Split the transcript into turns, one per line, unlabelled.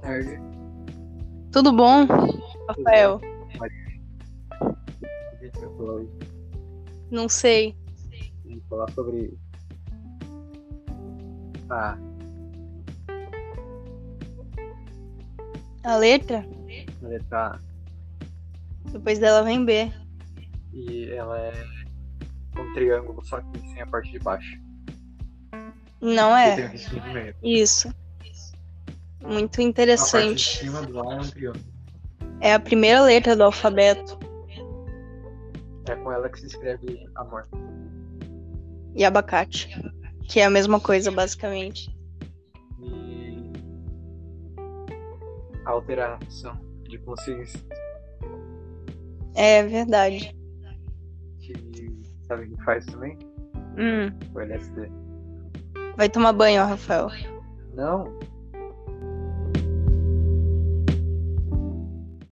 tarde.
Tudo bom, Rafael?
O que a gente vai falar hoje?
Não sei.
Vamos falar sobre. Ah,
A letra?
a letra
Depois dela vem B.
A. E ela é um triângulo, só que sem a parte de baixo.
Não
E tem
é?
um risquinho no meio.
Isso. Muito
A parte de
interessante.
cima do ar é um triângulo.
É a primeira letra do alfabeto.
É com ela que se escreve amor.
E abacate. Que é a mesma coisa, basicamente.
E. A alteração de consciência
É verdade.
que sabe o que faz também?
Hum,
O LSD.
Vai tomar banho, ó, Rafael.
Não,